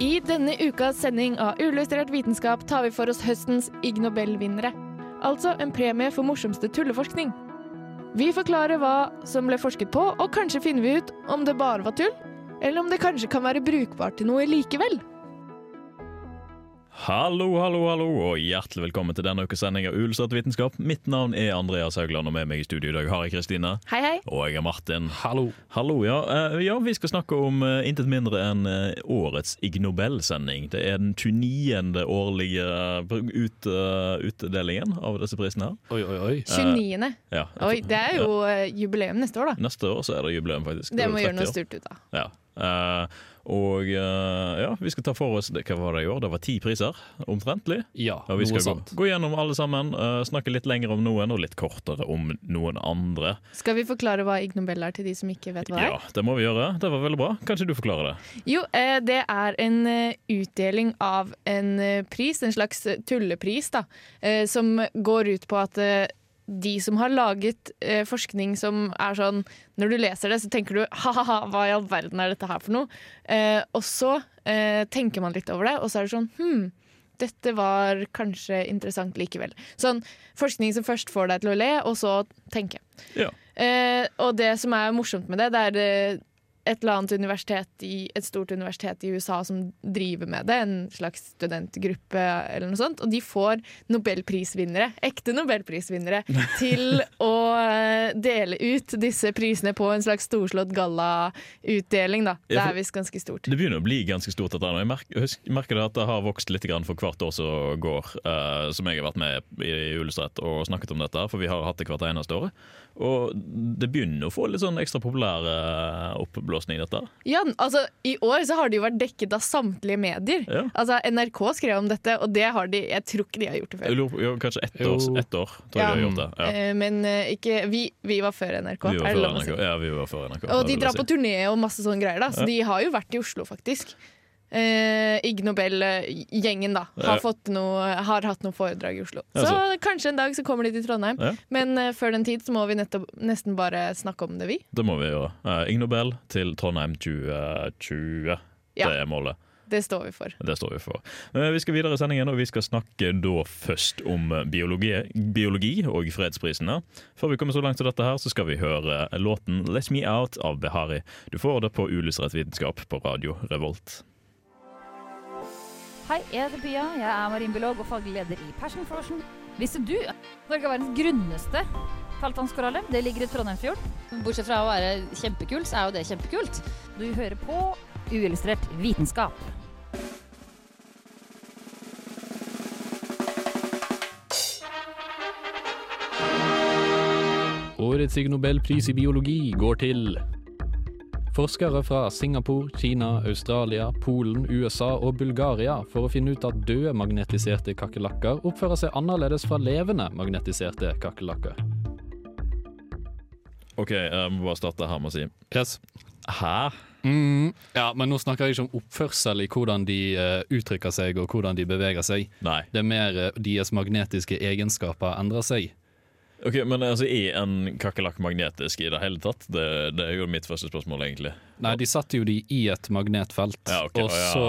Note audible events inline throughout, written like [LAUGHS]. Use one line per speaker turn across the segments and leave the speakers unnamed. I denne ukas sending av Uillustrert vitenskap tar vi for oss høstens Ig Nobel-vinnere. Altså en premie for morsomste tulleforskning. Vi forklarer hva som ble forsket på, og kanskje finner vi ut om det bare var tull, eller om det kanskje kan være brukbart til noe likevel.
Hallo, hallo, hallo, og hjertelig velkommen til denne ukes sending av Ulsatt vitenskap. Mitt navn er Andreas Haugland, og med meg i studio i dag har jeg Kristine.
Hei, hei.
Og jeg er Martin.
Hallo.
Hallo, ja. Eh, ja vi skal snakke om eh, intet mindre enn eh, årets Ig Nobel-sending. Det er den 29. årlige eh, ut, eh, utdelingen av disse prisene her.
Oi, oi, oi.
29.
Ja, jeg
Oi,
tror-
det er jo eh, jubileum neste år, da.
Neste år så er det jubileum, faktisk.
Det
er
må
jo
vi gjøre
30
noe
år.
stort ut av.
Ja. Eh, og eh, ja, vi skal ta for oss det, Hva var det i år? Det var ti priser, omtrentlig.
Ja,
Og vi
noe
skal gå,
sånt.
gå gjennom alle sammen, eh, snakke litt lenger om noen og litt kortere om noen andre.
Skal vi forklare hva Ig Nobel er til de som ikke vet hva det er?
Ja, Det må vi gjøre. Det var veldig bra. Kanskje du forklarer det?
Jo, eh, det er en eh, utdeling av en eh, pris, en slags eh, tullepris, da, eh, som går ut på at eh, de som har laget eh, forskning som er sånn Når du leser det, så tenker du ha-ha, hva i all verden er dette her for noe? Eh, og så eh, tenker man litt over det, og så er det sånn hm, dette var kanskje interessant likevel. Sånn forskning som først får deg til å le, og så tenke.
Ja.
Eh, og det som er morsomt med det, det er eh, et eller annet universitet i, et stort universitet i USA som driver med det, en slags studentgruppe eller noe sånt, og de får nobelprisvinnere, ekte
[LAUGHS]
nobelprisvinnere, til å eh, dele ut disse prisene på en slags storslått gallautdeling, da. Det
Ja, for-
er visst ganske stort.
Det begynner å bli ganske stort, dette. her nå. Jeg merker, husk- merker det at det har vokst litt grann for hvert år som går, eh, som jeg har vært med i Ullestrett og snakket om dette, her, for vi har hatt det hvert eneste år. Og det begynner å få litt sånn ekstra populær eh, oppblåsning, dette.
Ja, altså, I år så har det jo vært dekket av samtlige medier.
Ja.
Altså, NRK skrev om dette, og det har de Jeg tror ikke de har gjort det før.
Jeg lurer på- jo, kanskje ett
Jo.
år, ett år tror jeg
Ja.
de har gjort det. Ja.
Eh, Men eh, ikke Vi, vi var før NRK.
Vi var
er
før
det lov å
NRK.
si?
Ja, vi var før NRK. det
Og de
vil jeg
drar
si.
på turné og masse sånne greier, da. Så
Ja.
de har jo vært i Oslo, faktisk. Eh, Ig Nobel-gjengen, da.
Ja.
Har, fått noe, har hatt noen foredrag i Oslo.
Ja,
Så kanskje en dag så kommer de til Trondheim.
Ja.
Men eh, før den tid så må vi nettopp, nesten bare snakke om det, vi.
Det må vi gjøre. Uh, Ig Nobel til Trondheim 2020.
Ja.
Det er målet.
Det står vi for.
Det står vi for. Eh, vi skal videre i sendingen, og vi skal snakke da først om eh, biologi, biologi og fredsprisene. Før vi kommer så langt til dette her, så skal vi høre låten 'Let Me Out' av Behari. Du får det på Ulysrett vitenskap på radio Revolt.
Hei, jeg heter Pia. Jeg er marinbiolog og faglig leder i Passion Frosion. Visste du at Norge er verdens grunneste kaldtvannskoralle? Det ligger i Trondheimsfjorden.
Bortsett fra å være kjempekult, så er jo det kjempekult.
Du hører på Uillustrert vitenskap.
Årets Ig Nobelpris i biologi går til Forskere fra Singapore, Kina, Australia, Polen, USA og Bulgaria for å finne ut at døde magnetiserte kakerlakker oppfører seg annerledes fra levende magnetiserte kakerlakker.
OK, jeg må bare starte her med å si
Yes.
Hæ?
Mm, ja, men nå snakker jeg ikke om oppførsel i hvordan de eh, uttrykker seg og hvordan de beveger seg.
Nei.
Det er mer eh, deres magnetiske egenskaper endrer seg.
Ok, Men altså, er en kakerlakk magnetisk i det hele tatt? Det, det er jo mitt første spørsmål, egentlig.
Nei, de satte jo de i et magnetfelt,
Ja, ok,
og,
ja.
så,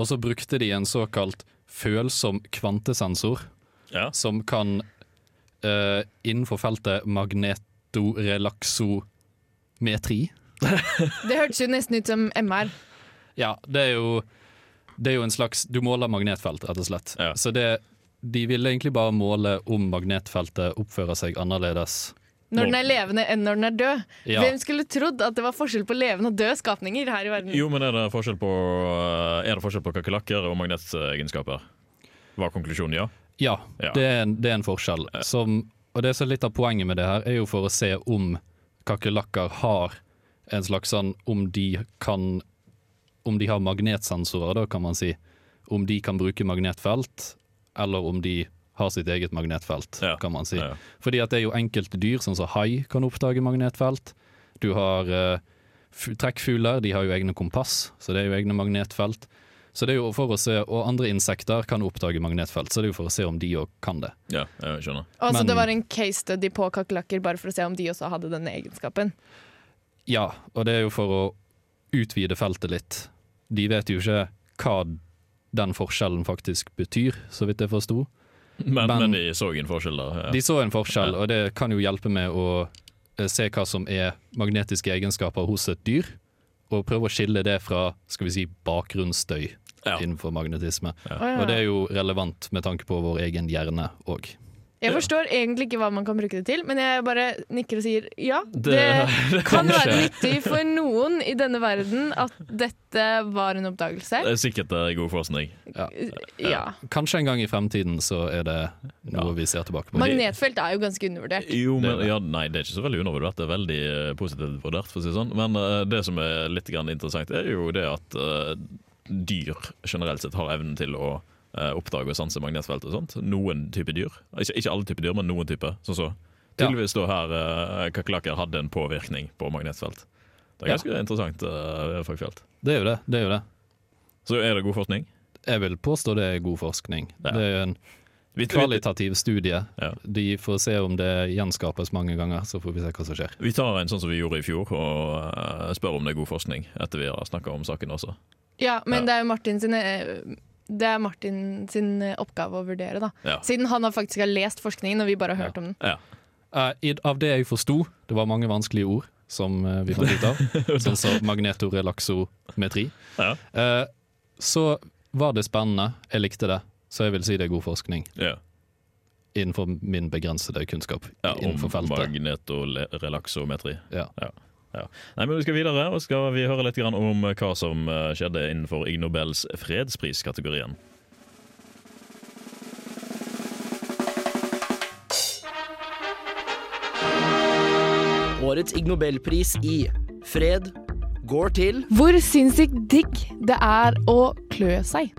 og så brukte de en såkalt følsom kvantesensor,
Ja.
som kan eh, innenfor feltet magnetorelaksometri.
Det hørtes jo nesten ut som MR.
Ja, det er jo Det er jo en slags Du måler magnetfelt, rett og slett.
Ja.
Så det de ville egentlig bare måle om magnetfeltet oppfører seg annerledes.
Når den er levende enn når den er død.
Ja.
Hvem skulle trodd at det var forskjell på levende og døde skapninger her i verden?
Jo, men er det forskjell på, eh, er det forskjell på kakerlakker og magnetegenskaper? Var konklusjonen ja?
Ja,
Ja. Eh.
Det, er en, det er en forskjell. Som, og det som er litt av poenget med det her, er jo for å se om kakerlakker har en slags sånn om de kan Om de har magnetsensorer, da, kan man si. Om de kan bruke magnetfelt, eller om de har sitt eget magnetfelt,
Ja.
kan man si.
Ja.
Fordi at det er jo enkelte dyr, sånn som hai, kan oppdage magnetfelt. Du har eh, fu- trekkfugler, de har jo egne kompass, så det er jo egne magnetfelt. Så det er jo for å se, Og andre insekter kan oppdage magnetfelt, så det er jo for å se om de òg kan det.
Ja, jeg skjønner.
Og altså,
Men-
det var en case study på kakerlakker, bare for å se om de også hadde denne egenskapen.
Ja, og det er jo for å utvide feltet litt. De vet jo ikke hva den forskjellen faktisk betyr, så vidt jeg forsto.
Men, men,
Men-
de så en forskjell der. Ja.
De så en forskjell,
Ja.
og det kan jo hjelpe med å eh, se hva som er magnetiske egenskaper hos et dyr, og prøve å skille det fra skal vi si, bakgrunnsstøy
Ja.
innenfor magnetisme.
Å, ja.
Og det er jo relevant med tanke på vår egen hjerne òg.
Jeg
Ja.
forstår egentlig ikke hva man kan bruke det til, men jeg bare nikker og sier ja. Det,
Det-
kan være nyttig for noen i denne verden at dette var en oppdagelse.
Det er sikkert eh, god forskning.
Ja.
Kanskje en gang i fremtiden så er det noe
Ja.
vi ser tilbake på.
Magnetfelt er jo ganske undervurdert.
Jo, men,
det.
ja, nei, det er ikke så veldig undervurdert. Det er veldig eh, positivt vurdert, for å si det sånn. Men eh, det som er litt grann interessant, er jo det at eh, dyr generelt sett har evnen til å eh, oppdage og sanse magnetfelt og sånt. Noen type dyr. Ikke, ikke alle typer dyr, men noen type. Sånn så. Tydeligvis da her eh, kakerlakker hadde en påvirkning på magnetfelt. Det er
Ja.
ganske interessant eh, fagfelt.
Det er jo det. det er jo det.
Så er det god forskning?
Jeg vil påstå det er god forskning.
Ja.
Det er jo en
Vi- vi-
kvalitativ studie.
Ja.
De får se om det gjenskapes mange ganger, så får vi se hva som skjer.
Vi tar en sånn som vi gjorde i fjor, og eh, spør om det er god forskning etter vi har snakka om saken også.
Ja,
Ja.
men det er jo Martin sin, eh, det er Martin sin eh, oppgave å vurdere, da.
Ja.
Siden han har faktisk har lest forskningen, og vi bare har hørt om den.
Ja.
Eh, i- av det jeg forsto, det var mange vanskelige ord som eh, vi fant ut av, [LAUGHS] sånn som magnetorelaksometri,
Ja.
Eh, så var det spennende. Jeg likte det, så jeg vil si det er god forskning
Ja.
innenfor min begrensede kunnskap
Ja,
innenfor
om
feltet.
magnetorelaksometri.
Ja.
Ja. Nei, men Vi skal videre, og skal vi høre litt grann om hva som eh, skjedde innenfor Ig Nobels fredspriskategorien.
Årets Ig Nobelpris i fred går til
Hvor sinnssykt digg det er å klø seg.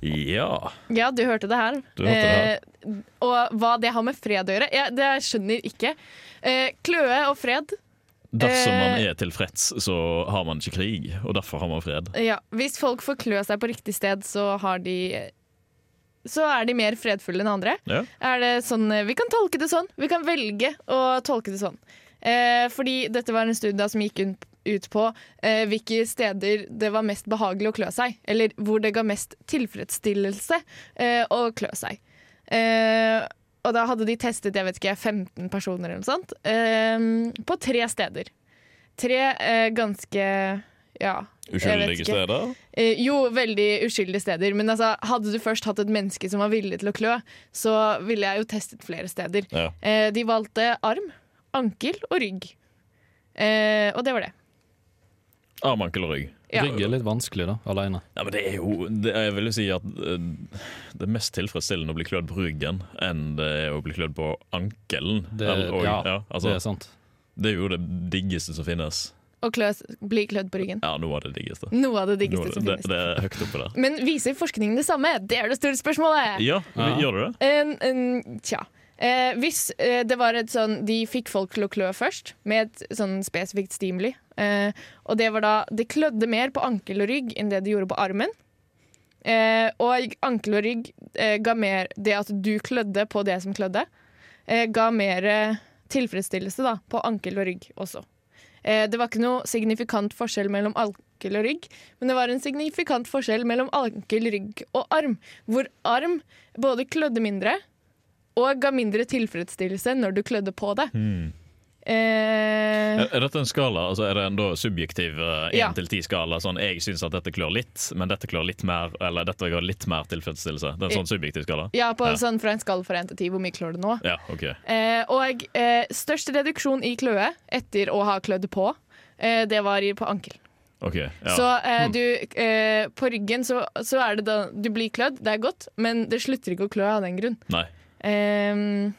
Ja.
Ja, du hørte det her.
Du hørte det her.
Eh, og hva det har med fred å gjøre, jeg, det skjønner ikke. Eh, kløe og fred
Dersom man
Eh.
er tilfreds, så har man ikke krig, og derfor har man fred.
Ja, hvis folk får klø seg på riktig sted, så har de så er de mer fredfulle enn andre.
Ja.
Er det sånn, vi kan tolke det sånn. Vi kan velge å tolke det sånn. Eh, fordi dette var en studie da som gikk un- ut på eh, hvilke steder det var mest behagelig å klø seg. Eller hvor det ga mest tilfredsstillelse eh, å klø seg. Eh, og da hadde de testet jeg vet ikke, 15 personer eller noe sånt eh, på tre steder. Tre eh, ganske ja,
Uskyldige steder.
Eh, jo, veldig uskyldige steder. Men altså, hadde du først hatt et menneske som var villig til å klø, så ville jeg jo testet flere steder.
Ja.
Eh, de valgte arm, ankel og rygg. Eh, og det var det.
Arm, ankel og rygg.
Ja.
Rygg er litt vanskelig, da, aleine.
Ja, men det er jo det, Jeg vil jo si at eh, det er mest tilfredsstillende å bli klødd på ryggen enn det er å bli klødd på ankelen.
Det-
Eller- og-
ja,
altså,
det er sant.
det er jo det diggeste som finnes.
Og klø, bli klødd på ryggen.
Ja, noe av det diggeste.
Noe av det
Noe
diggeste
av
som
det, det,
finnes.
det er høyt oppe der.
Men viser forskningen det samme? Det er det store spørsmålet.
Ja, vi- gjør du det?
En, en, tja. Eh, hvis eh, det var et sånn De fikk folk til å klø først, med et sånn spesifikt stimuli. Eh, og det var da Det klødde mer på ankel og rygg enn det det gjorde på armen. Eh, og ankel og rygg eh, ga mer Det at du klødde på det som klødde, eh, ga mer eh, tilfredsstillelse da, på ankel og rygg også. Eh, det var ikke noe signifikant forskjell mellom ankel og rygg, men det var en signifikant forskjell mellom ankel, rygg og arm. Hvor arm både klødde mindre og ga mindre tilfredsstillelse når du klødde på det. Eh,
Er, er dette en skala? Altså, er det en da subjektiv eh,
Ja.
1-10-skala? Sånn, jeg syns at dette klør litt, men dette klør litt mer, eller dette ga litt mer tilfredsstillelse. Det er en sånn subjektiv skala?
ja, på
Ja.
sånn fra en skall for en til ti, hvor mye klør du nå?
Ja, ok.
Eh, og eh, størst reduksjon i kløe etter å ha klødd på, eh, det var i- på ankel.
Ok, ja. Mm.
Så eh, du, eh, på ryggen så, så er det da Du blir klødd, det er godt, men det slutter ikke å klø av den grunn.
Nei.
Eh,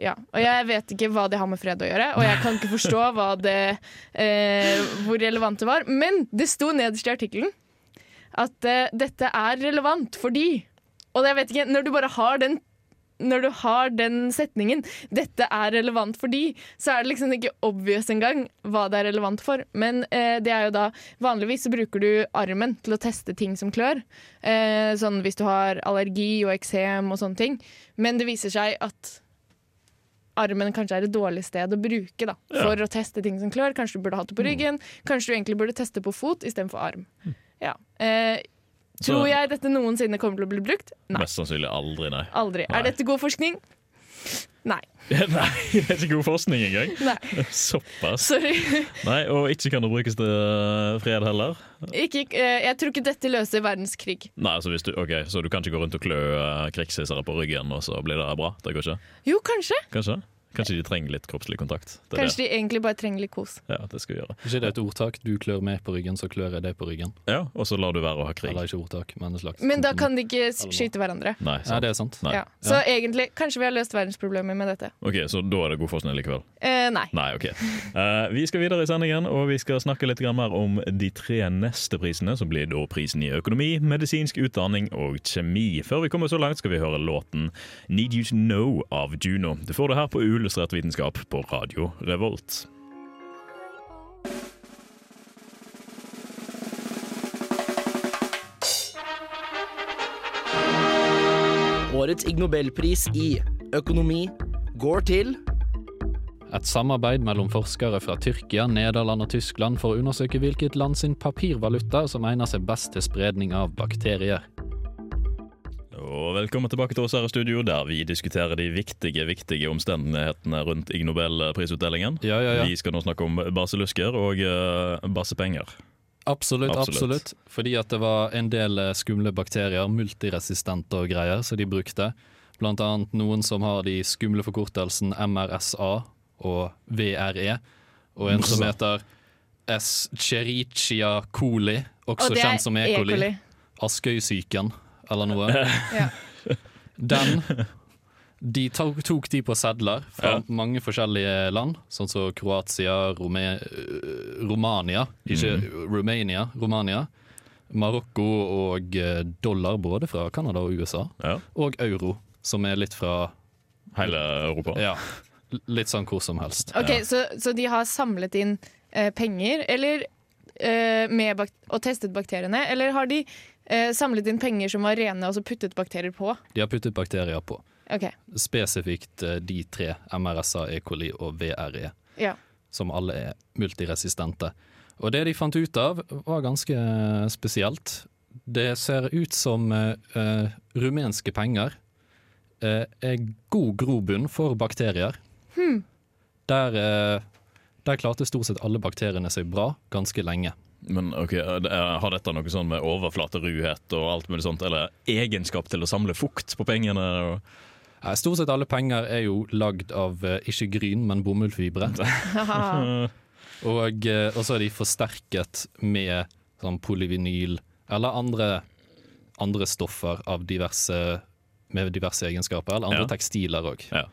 Ja, og jeg vet ikke hva det har med fred å gjøre, og jeg kan ikke forstå hva det, eh, hvor relevant det var. Men det sto nederst i artikkelen at eh, dette er relevant fordi Og jeg vet ikke, når du bare har den når du har den setningen 'dette er relevant fordi', så er det liksom ikke obvious engang hva det er relevant for. Men eh, det er jo da Vanligvis så bruker du armen til å teste ting som klør. Eh, sånn hvis du har allergi og eksem og sånne ting. Men det viser seg at armen kanskje er et dårlig sted å bruke da,
Ja.
for å teste ting som klør. Kanskje du burde hatt det på ryggen. Kanskje du egentlig burde teste på fot istedenfor arm. Ja. Eh,
Så-
tror jeg dette noensinne kommer til å bli brukt? Nei.
Mest sannsynlig aldri, nei.
Aldri.
Nei.
Er dette god forskning? Nei.
[LAUGHS] nei, det er ikke god forskning engang. [LAUGHS]
Nei.
Såpass.
Sorry.
Nei, Og ikke kan det brukes til øh, fred heller.
Ikke, eh, jeg tror ikke dette løser verdenskrig.
Nei, altså hvis du, ok, Så du kan ikke gå rundt og klø øh, krigshissere på ryggen, og så blir det bra? Det går ikke?
Jo, kanskje.
Kanskje? Kanskje de trenger litt kroppslig kontakt? Det er
Kanskje de egentlig bare trenger litt kos.
Det. Ja, det skal vi gjøre.
Ikke det er et ordtak? Du klør meg på ryggen, så klør jeg deg på ryggen.
Ja, Og så lar du være å ha krig.
Eller ikke ordtak, men en slags
Men da
kompromiss.
kan de ikke s- skyte hverandre.
Nei,
Ja,
sant.
det er sant.
Nei.
Ja. Så egentlig, kanskje vi har løst verdensproblemer med dette.
Ok, Så da er det god forskning likevel?
Eh, nei.
Nei, ok. Eh, vi skal videre i sendingen, og vi skal snakke litt grann mer om de tre neste prisene, som blir da prisen i økonomi, medisinsk utdanning og kjemi. Før vi kommer så langt, skal vi høre låten 'Need You To Know' av Juno. Du får det her på Uillustrert vitenskap på Radio Revolt.
Årets Ig Nobelpris i økonomi går til
Et samarbeid mellom forskere fra Tyrkia, Nederland og Tyskland for å undersøke hvilket land sin papirvaluta som egner seg best til spredning av bakterier.
Og velkommen tilbake til oss her i studio, der vi diskuterer de viktige, viktige omstendighetene rundt Ig Nobel-prisutdelingen.
Ja, ja, ja.
Vi skal nå snakke om baselusker og eh, basepenger.
Absolutt,
Absolutt.
absolutt. Fordi at det var en del eh, skumle bakterier, multiresistente og greier, som de brukte. Blant annet noen som har de skumle forkortelsen MRSA og VRE, og en som heter Escherichia coli, også kjent som E. coli. Askøysyken, eller noe.
[LAUGHS]
Ja.
Den De tok, tok de på sedler fra
Ja.
mange forskjellige land, sånn som Kroatia, Rome, øh, Romania Ikke
Mm.
Romania, Romania. Marokko og eh, dollar både fra Canada og USA.
Ja,
Og euro, som er litt fra
Hele Europa.
Ja, l- litt sånn hvor som helst.
Ok, så, så de har samlet inn eh, penger, eller eh, med bak og testet bakteriene, eller har de eh, samlet inn penger som var rene, og så puttet bakterier på?
De har puttet bakterier på.
Ok,
Spesifikt eh, de tre, MRSA, E. coli og VRE.
ja.
som alle er multiresistente. Og det de fant ut av, var ganske eh, spesielt. Det ser ut som eh, eh, rumenske penger eh, er god grobunn for bakterier. Der, eh, der klarte stort sett alle bakteriene seg bra ganske lenge.
Men ok, er- er- Har dette noe sånn med overflateruhet og alt mulig sånt, eller egenskap til å samle fukt på pengene? Og...
Eh, Stort sett alle penger er jo lagd av eh, ikke gryn, men bomullfibre.
Haha.
eh,
Og, eh, og så er de forsterket med sånn polyvinyl eller andre, andre stoffer av diverse, med diverse egenskaper, eller andre
Ja.
tekstiler òg.
Ja.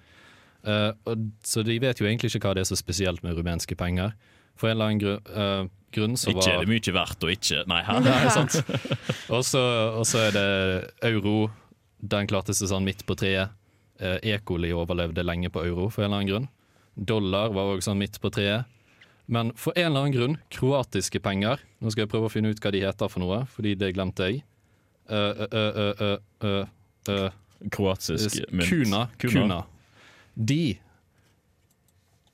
så de vet jo egentlig ikke hva det er så spesielt med rumenske penger. For en eller annen gru, eh, grunn så
Ikke er
var
det mye verdt og ikke Nei,
[LAUGHS]
hæ?
Og så og så er det euro. Den klarte seg sånn midt på treet. Eh, E. coli overlevde lenge på euro for en eller annen grunn. Dollar var òg sånn midt på treet. Men for en eller annen grunn, kroatiske penger Nå skal jeg prøve å finne ut hva de heter for noe, fordi det glemte jeg. Eh, eh, eh, eh, eh, eh,
Kroatisk
eh,
mynt.
Kuna. Kuna. De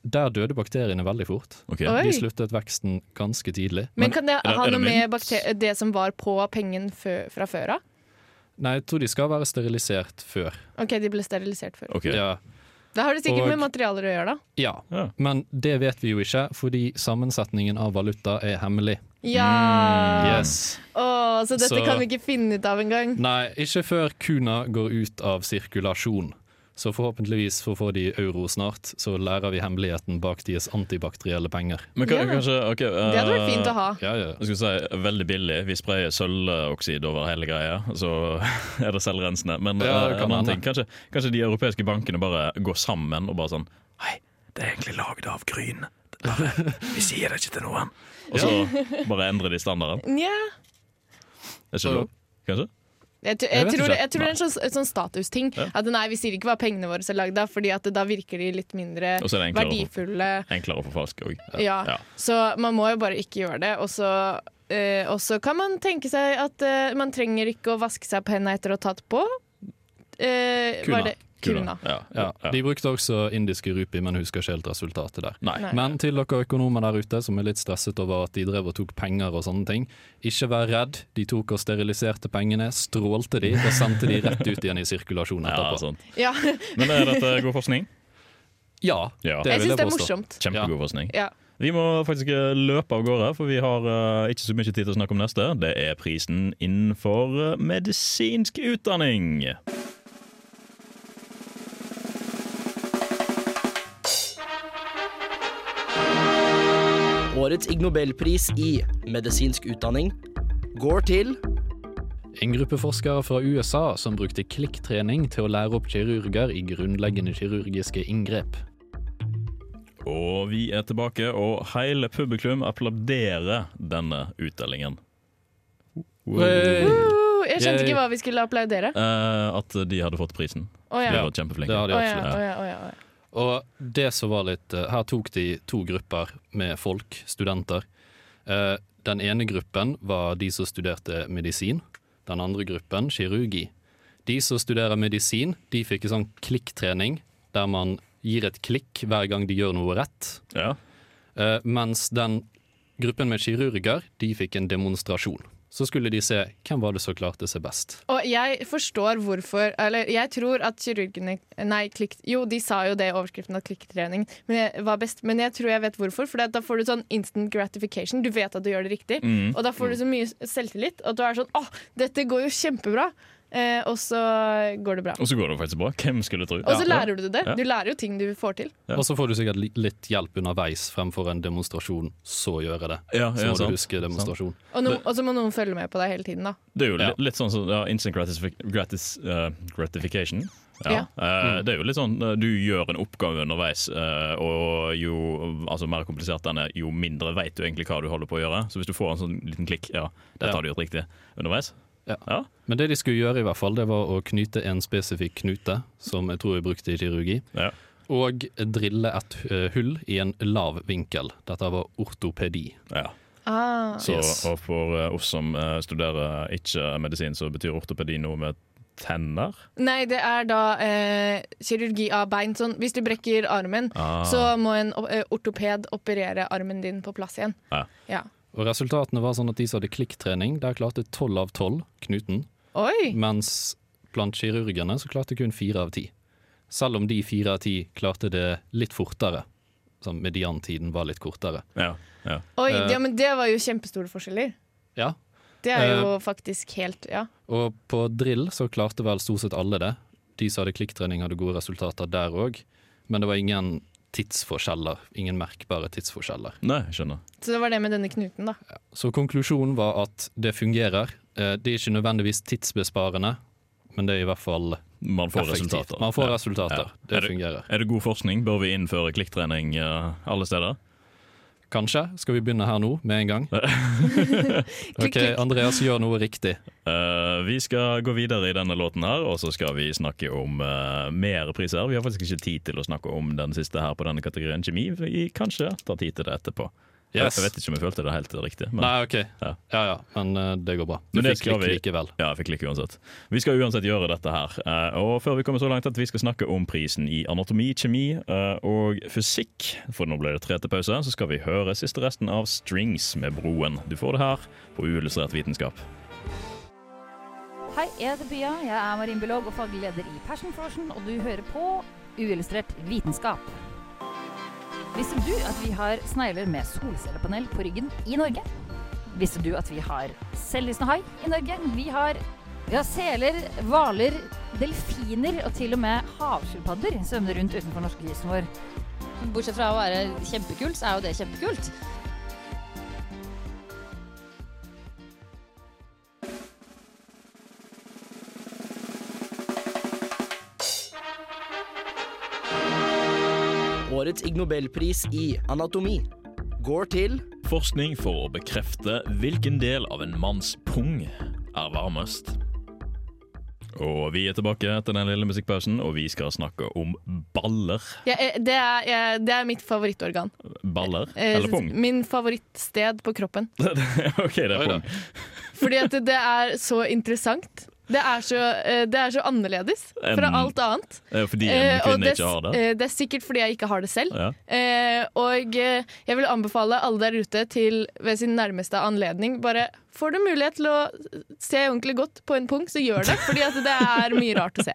Der døde bakteriene veldig fort.
Ok.
Oi.
De sluttet veksten ganske tidlig.
[LAUGHS] Men kan det
er det-
ha
er det
noe med
mynt?
bakte- det som var på pengen fø fra før av?
Nei, jeg tror de skal være sterilisert før.
Ok, de ble sterilisert før.
Ok.
Ja.
Da har det sikkert
Og-
med materialer å gjøre, da.
Ja,
Ja.
men det vet vi jo ikke, fordi sammensetningen av valuta er hemmelig.
Ja!
Mm.
Yes.
Åh, så dette
Så-
kan vi ikke finne ut av engang.
Nei, ikke før kuna går ut av sirkulasjon. Så forhåpentligvis for å få de i euro snart, så lærer vi hemmeligheten bak deres antibakterielle penger.
Men kan,
Ja.
kanskje ok, eh,
Det hadde vært fint å ha.
Ja, ja.
Jeg skulle si veldig billig. Vi sprayer sølvoksid over hele greia, så [LAUGHS] er det selvrensende. Men
Ja, det
eh,
kan
en annen
hende.
ting, kanskje, kanskje de europeiske bankene bare går sammen og bare sånn Hei, det er egentlig lagd av
[LAUGHS]
gryn. Bare, vi sier det ikke til noen. Og så bare endrer de standarden.
Nja
Er ikke det lov? Kanskje?
Jeg, tr-
Jeg
jeg,
vet
tror,
ikke.
jeg tror det er en sånn, en sånn statusting.
Ja.
At nei, vi sier ikke hva pengene våre er lagd av, Fordi at da virker de litt mindre
Og så er det enklere å få-
verdifulle.
Enklere å forfalske òg.
Ja.
Ja.
Så man må jo bare ikke gjøre det. Og så eh, og så kan man tenke seg at eh, man trenger ikke å vaske seg på hendene etter å ha tatt på. Eh,
Kuna.
var det- Kuna.
Ja.
Ja,
Ja.
De brukte også indiske rupi, men husker ikke helt resultatet der.
Nei.
Nei.
Men til dere økonomer der ute som er litt stresset over at de drev og tok penger og sånne ting, ikke vær redd. De tok og steriliserte pengene, strålte de og sendte de rett ut igjen i sirkulasjon
Ja, altså,
etterpå.
sant.
Ja. [LAUGHS]
Men er dette god forskning?
Ja,
Ja.
det
Jeg syns
vil jeg
det er
påstå.
morsomt.
Kjempegod forskning.
Ja.
Vi må faktisk eh, løpe av gårde, for vi har eh, ikke så mye tid til å snakke om neste. Det er prisen innenfor eh, medisinsk utdanning.
Årets Ig Nobelpris i medisinsk utdanning går til
En gruppe forskere fra USA som brukte klikktrening til å lære opp kirurger i grunnleggende kirurgiske inngrep.
Og vi er tilbake, og hele publikum applauderer denne utdelingen.
Woo! Jeg skjønte
Yay.
ikke hva vi skulle applaudere.
Eh, at de hadde fått prisen.
Å
De
ja.
var
Det
kjempeflinke.
har de
Å ja,
absolutt.
å ja, å ja, å ja.
Og det som var litt eh, Her tok de to grupper med folk, studenter. Eh, Den ene gruppen var de som studerte medisin. Den andre gruppen kirurgi. De som studerer medisin, de fikk en sånn klikktrening der man gir et klikk hver gang de gjør noe rett.
Ja.
Eh, Mens den gruppen med kirurger, de fikk en demonstrasjon. Så skulle de se hvem var det som klarte seg best.
Og jeg forstår hvorfor Eller jeg tror at kirurgene Nei, klikk Jo, de sa jo det i overskriften at klikktrening men jeg, var best, men jeg tror jeg vet hvorfor. For da får du sånn instant gratification. Du vet at du gjør det riktig.
Mm.
Og da får du så mye selvtillit at du er sånn Å, dette går jo kjempebra! Eh, og så går det bra.
Og så går det faktisk bra. Hvem skulle tro?
Og så lærer du det.
Ja.
Du lærer jo ting du får til.
Ja.
Og så får du sikkert li- litt hjelp underveis fremfor en demonstrasjon, så gjøre det.
Ja,
Så
ja,
må du
sant.
huske demonstrasjon.
Og, no, og så må noen følge med på deg hele tiden, da.
Det er jo
Ja.
litt, litt sånn som ja, instant gratis, gratis, eh, gratification. Ja.
Ja.
Eh, det er jo litt sånn eh, du gjør en oppgave underveis, eh, og jo altså, mer komplisert den er, jo mindre vet du egentlig hva du holder på å gjøre. Så hvis du får en sånn liten klikk, ja, dette
Ja.
har du gjort riktig underveis.
Ja. Men det de skulle gjøre, i hvert fall, det var å knyte en spesifikk knute, som jeg tror jeg brukte i kirurgi,
Ja.
og drille et eh, hull i en lav vinkel. Dette var ortopedi.
Ja.
Ah.
Så,
Yes.
Og for eh, oss som eh, studerer ikke medisin, så betyr ortopedi noe med tenner.
Nei, det er da eh, kirurgi av bein. Sånn, hvis du brekker armen,
Ah.
så må en o- eh, ortoped operere armen din på plass igjen.
Ja.
Og resultatene var sånn at de som hadde klikktrening, der klarte tolv av tolv knuten,
Oi!
mens blant kirurgene så klarte kun fire av ti. Selv om de fire av ti klarte det litt fortere. Sånn mediantiden var litt kortere.
Ja. Ja.
Oi
Eh.
ja, men det var jo kjempestore forskjeller.
Ja,
Det er
Eh.
jo faktisk helt Ja.
Og på drill så klarte vel stort sett alle det. De som hadde klikktrening hadde gode resultater der òg. Men det var ingen tidsforskjeller. Ingen merkbare tidsforskjeller.
Nei, jeg skjønner.
Så det var det med denne knuten, da.
Så konklusjonen var at det fungerer. Eh, Det er ikke nødvendigvis tidsbesparende, men det er i hvert fall
Man får
effektivt.
resultater.
Man får
Ja.
resultater.
Ja. Er
Det
det-
fungerer.
Er det god forskning? Bør vi innføre klikktrening eh, alle steder?
Kanskje skal vi begynne her nå, med
[LAUGHS]
en gang. OK, Andreas gjør noe riktig.
Eh, vi skal gå videre i denne låten her, og så skal vi snakke om eh, mer priser. Vi har faktisk ikke tid til å snakke om den siste her på denne kategorien kjemi. Vi kanskje tar tid til det etterpå.
Yes.
Jeg vet ikke om jeg følte det helt riktig. Men,
Nei, OK.
Ja.
Ja ja, men eh, det går bra. Du
Men det
fikk
skal
klikk
vi- [LAUGHS]
likevel.
Ja, jeg fikk like uansett. Vi skal uansett gjøre dette her. Eh, og før vi kommer så langt at vi skal snakke om prisen i anatomi, kjemi eh, og fysikk, for nå ble det tre til pause, så skal vi høre siste resten av Strings med Broen. Du får det her på Uillustrert vitenskap.
Hei, jeg heter Pia. Jeg er marinbiolog og faglig leder i Passion Frosion, og du hører på Uillustrert vitenskap. Visste du at vi har snegler med solcellepanel på ryggen i Norge? Visste du at vi har selvlysende hai i Norge? Vi har Vi har seler, hvaler, delfiner og til og med havskilpadder svømmer rundt utenfor norskekysten vår.
Bortsett fra å være kjempekult, så er jo det kjempekult.
Årets Ig Nobelpris i anatomi går til
Forskning for å bekrefte hvilken del av en manns pung er varmest. Og vi er tilbake etter den lille musikkpausen, og vi skal snakke om baller.
Ja, eh, det, er, jeg- det er mitt favorittorgan.
Baller?
Eh,
Eller pung?
Min favorittsted på kroppen.
[LAUGHS] OK, det er
Oi da.
pung.
Fordi at det er så interessant. Det er så, eh, det er så annerledes fra
Em,
alt annet.
Eh, Fordi
Eh,
en
og
kvinne
det,
ikke har det?
eh, det er sikkert fordi jeg ikke har det selv.
Ja.
Eh, og eh, jeg vil anbefale alle der ute til ved sin nærmeste anledning bare Får du mulighet til å se ordentlig godt på en punkt, så gjør det. Fordi at det er mye rart å se.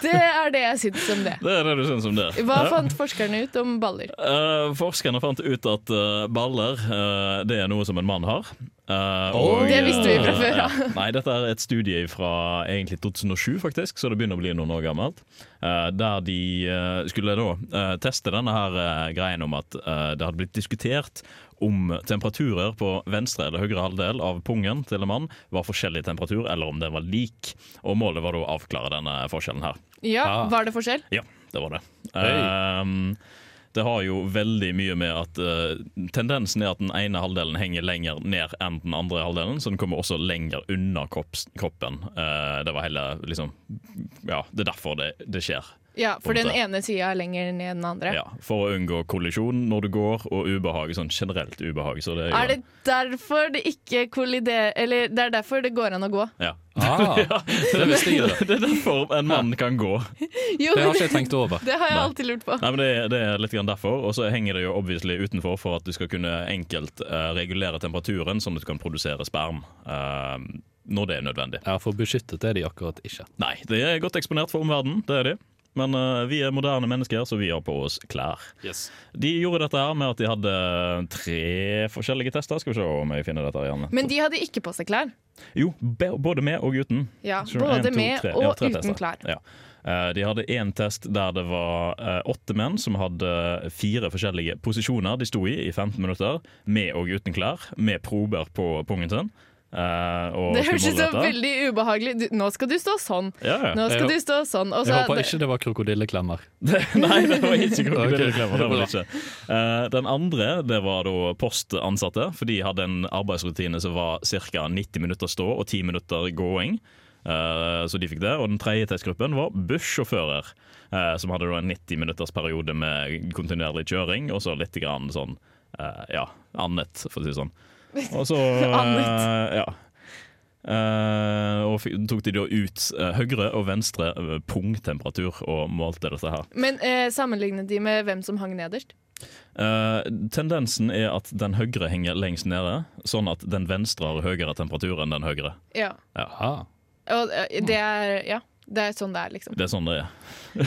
Det er det jeg syns om det.
Det er det du syns om det.
Hva
Ja.
fant forskerne ut om baller?
Eh, forskerne fant ut at eh, baller eh, det er noe som en mann har. Eh, og,
Det visste vi fra
eh,
før, ja.
Nei, dette er et studie fra egentlig 2007, faktisk, så det begynner å bli noen år gammelt. Eh, der de eh, skulle da eh, teste denne her eh, greien om at eh, det hadde blitt diskutert om temperaturer på venstre eller høyre halvdel av pungen til en mann var forskjellig temperatur, eller om den var lik. Og målet var da å avklare denne forskjellen her.
Ja,
Ah.
Var det forskjell?
Ja, det var det.
Hei.
Ehm, det har jo veldig mye med at eh, tendensen er at den ene halvdelen henger lenger ned enn den andre halvdelen, så den kommer også lenger unna kropps, kroppen. Eh, det var hele liksom Ja, det er derfor det, det skjer.
Ja, For
På en
den
måte.
ene sida er lenger ned enn den andre.
Ja, for å unngå kollisjon når du går, og ubehag, sånn generelt ubehag. Så det er, jo-
Er det derfor det ikke kolliderer Eller det er derfor det går an å gå?
ja. [LAUGHS]
Ah, det visste jeg ikke.
det er derfor en mann kan gå.
Jo,
Det har
men
ikke jeg tenkt over.
det har jeg
Nei.
alltid lurt på.
Nei, men det, er- det er litt grann derfor, og så henger det jo obviously utenfor for at du skal kunne enkelt eh, regulere temperaturen sånn at du kan produsere sperm eh, når det er nødvendig.
Ja, for beskyttet er de akkurat ikke.
Nei, det er godt eksponert for omverdenen, det er de. Men eh, vi er moderne mennesker, så vi har på oss klær.
Yes.
De gjorde dette her med at de hadde tre forskjellige tester. Skal vi se om jeg finner dette her igjen.
Men de hadde ikke på seg klær.
Jo, be- både med og uten.
Ja,
Så en,
Både
to,
med
tre. Ja,
og
tre tester.
uten klær.
Ja. Eh, De hadde én test der det var eh, åtte menn som hadde eh, fire forskjellige posisjoner de sto i i 15 minutter, med og uten klær, med prober på pungen sin. eh, og
Det
skulle
høres ut
måle
som
dette.
veldig ubehagelig du, Nå skal du stå sånn.
ja, ja.
Nå skal
Jeg
du stå sånn. Og
Jeg
så,
håper ikke det var krokodilleklemmer.
Nei, [LAUGHS] det var ikke krokodilleklemmer. Det
Ok.
var det ikke. Eh, Den andre det var da postansatte, for de hadde en arbeidsrutine som var ca. 90 minutter stå og 10 minutter gåing. Eh, Så de fikk det. Og den tredje testgruppen var bussjåfører, eh, som hadde da en 90 minutters periode med kontinuerlig kjøring og så litt grann sånn eh, ja, annet, for å si det sånn. Og så eh,
Annet.
ja. Eh, og fikk, tok de da ut eh, høyre og venstre eh, pungtemperatur og målte dette her.
men eh, sammenlignet de med hvem som hang nederst?
Eh, tendensen er at den høyre henger lengst nede, sånn at den venstre har høyere temperatur enn den høyre.
Ja.
Aha.
Og eh, det er Ja. Det er sånn det er, liksom.
Det er sånn det er.